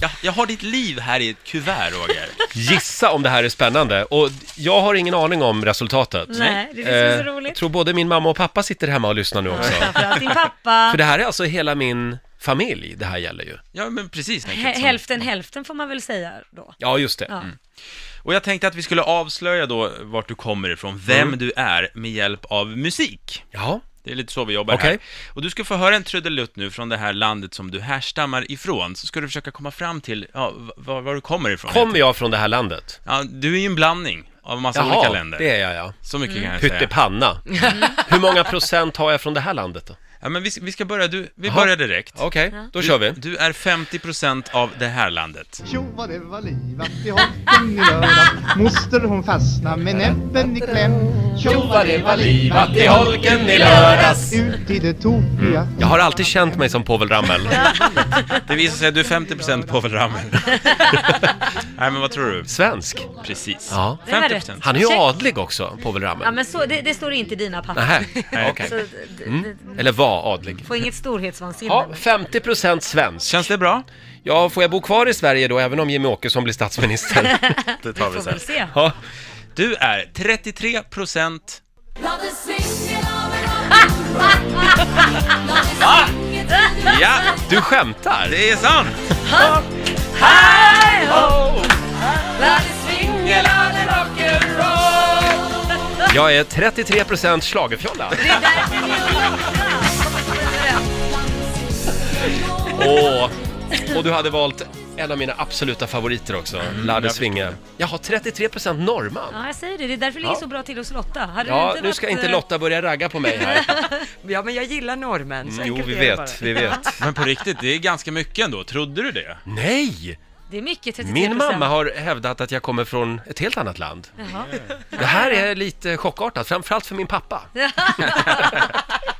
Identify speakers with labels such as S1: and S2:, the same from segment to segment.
S1: Jag, jag har ditt liv här i ett kuvert, Roger.
S2: Gissa om det här är spännande. Och jag har ingen aning om resultatet.
S3: Nej, det är så
S2: Eh, Jag
S3: roligt.
S2: tror både min mamma och pappa sitter hemma och lyssnar nu också.
S3: Framförallt din pappa.
S2: För det här är alltså hela min familj det här gäller ju.
S1: Ja, men precis. Nick
S3: Hä-
S1: Kitson.
S3: Hälften hälften får man väl säga då.
S2: Ja, just det.
S3: Ja.
S1: Och jag tänkte att vi skulle avslöja då vart du kommer ifrån, vem
S2: Mm.
S1: du är, med hjälp av musik.
S2: Ja,
S1: Det är lite så vi jobbar
S2: Okej.
S1: här. Och du ska få höra en trudelutt nu från det här landet som du härstammar ifrån, så ska du försöka komma fram till ja, v- var, var du kommer ifrån.
S2: kommer jag från det här landet?
S1: Ja, du är ju en blandning av massa
S2: Jaha,
S1: olika länder.
S2: det Mm. är jag ja.
S1: Så mycket kan jag säga.
S2: Pyttipanna.
S3: Mm.
S2: Hur många procent har jag från det här landet då?
S1: Ja, men vi, vi ska börja, du, vi
S2: Jaha.
S1: börjar direkt.
S2: Okej, då kör vi.
S1: Du är 50% av det här landet.
S4: Tjo vad det var livat i hoppen i lördag Moster hon fastna med näbben i kläm Tjo vad det var livat i holken i lördags Ut i det tokiga
S2: Jag har alltid känt mig som Povel Ramel.
S1: Det visar sig att du är 50% Povel Ramel. Nej, men vad tror du?
S2: Svensk.
S1: Precis.
S2: Ja.
S3: Det var
S1: 50%.
S2: Han är ju
S3: Check.
S2: adlig också, Povel
S3: Ja,
S2: Ramel.
S3: men så, det, det står inte i dina papper.
S2: Nähä, okej.
S3: Så d- d- d-
S2: Eller var adlig.
S3: Få inget storhetsvansinne.
S2: Mm. Ja, 50% svensk.
S1: Känns det bra?
S2: Ja, får jag bo kvar i Sverige då, även om Jimmy Åkesson blir statsminister?
S1: Det tar
S3: Får väl se.
S2: Ja.
S1: Du är 33%
S5: Låt det svinga av en annan. Låt det svinga till en
S1: Ja,
S2: Du skämtar?
S1: det är sant!
S2: Jag är 33% schlagerfjolla. Åh, och du hade valt en av mina absoluta favoriter också, Ladde
S1: jag
S2: Svinge. Mm, Jag har 33% norrman.
S3: Ja, jag säger det. Det är därför det ligger
S2: Ja.
S3: så bra till hos Lotta. Hade det
S2: Ja, nu ska
S3: varit,
S2: inte
S3: eh,
S2: Lotta börja ragga på mig här. Mm.
S6: Ja, men jag gillar norrmän. så
S2: Jo,
S6: enkelt
S2: vi
S6: är det bara.
S2: vet, vi vet.
S1: Men på riktigt, det är ganska mycket ändå. Trodde du det?
S2: Nej!
S3: Det är mycket, 33%.
S2: Min mamma har hävdat att jag kommer från ett helt annat land.
S3: Jaha.
S2: Det här är lite chockartat, framförallt för min pappa.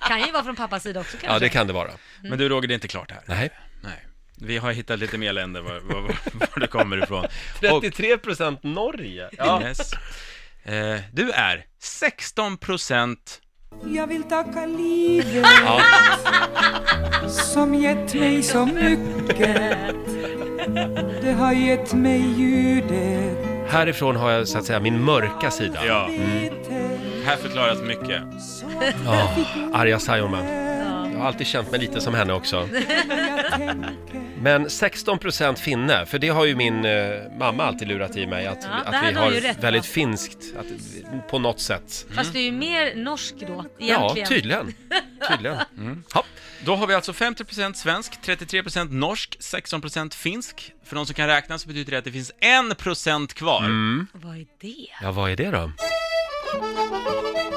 S3: Kan ju vara från pappas sida också kanske.
S2: Ja, det kan det vara.
S1: Men du Roger, det är inte klart här.
S2: Nej.
S1: Nej. Vi har hittat lite mer länder var, var, var, var du kommer ifrån. Och,
S2: 33% Norge. Ja.
S1: yes. eh, du är 16%
S7: Jag vill tacka livet
S2: Ja.
S7: som gett mig så mycket. Det har gett mig ljudet.
S2: Härifrån har jag så att säga min mörka sida.
S1: Ja.
S7: Lite
S1: Här förklaras mycket.
S7: så att
S2: Ja, Arja Saijonmaa.
S7: jag
S2: Jag har alltid känt mig lite som henne också.
S7: tänker.
S2: Men 16% finne, för det har ju min eh, mamma alltid lurat i mig att,
S3: Ja, där
S2: att
S3: hade
S2: vi
S3: hon ju rätt,
S2: har
S3: va?
S2: väldigt finskt, att, vi- på något sätt.
S3: Fast du är ju mer norsk då, egentligen.
S2: Ja, tydligen. Tydligen. Ja.
S1: Då har vi alltså 50% svensk, 33% norsk, 16% finsk. För de som kan räkna så betyder det att det finns 1% kvar.
S2: Mm.
S3: Vad är det?
S2: ja, vad är det då?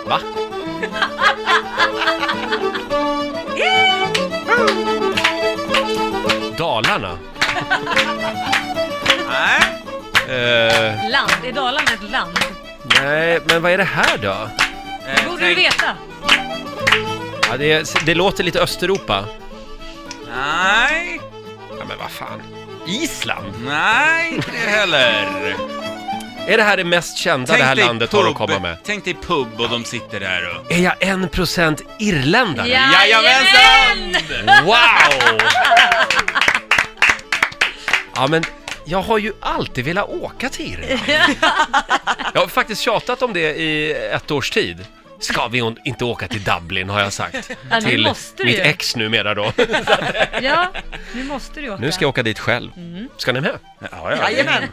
S2: Va? Dalarna.
S1: Nej.
S2: Eh,
S3: Land? Är Dalarna ett land?
S2: nej, men vad är det här då?
S3: Det borde
S1: Eh,
S3: du veta.
S2: Ja, det, det låter lite Östeuropa.
S1: Nej,
S2: Ja, men vad fan. Island?
S1: nej inte det heller.
S2: Är det här det mest kända det här
S1: dig
S2: landet har att komma med?
S1: Tänk dig pub och de sitter där och...
S2: Är jag 1% irländare?
S1: Jajamensan!
S2: Wow! Ja, men jag har ju alltid velat åka till Irland. Jag har faktiskt tjatat om det i ett års tid. Ska vi on- inte åka till Dublin, har jag sagt.
S3: Ja, nu
S2: till
S3: måste du
S2: mitt
S3: ju.
S2: ex numera då.
S3: Ja, nu måste du åka. Mm.
S2: Nu ska jag åka dit själv. Ska ni med?
S1: Ja, ja.
S6: Jajamän.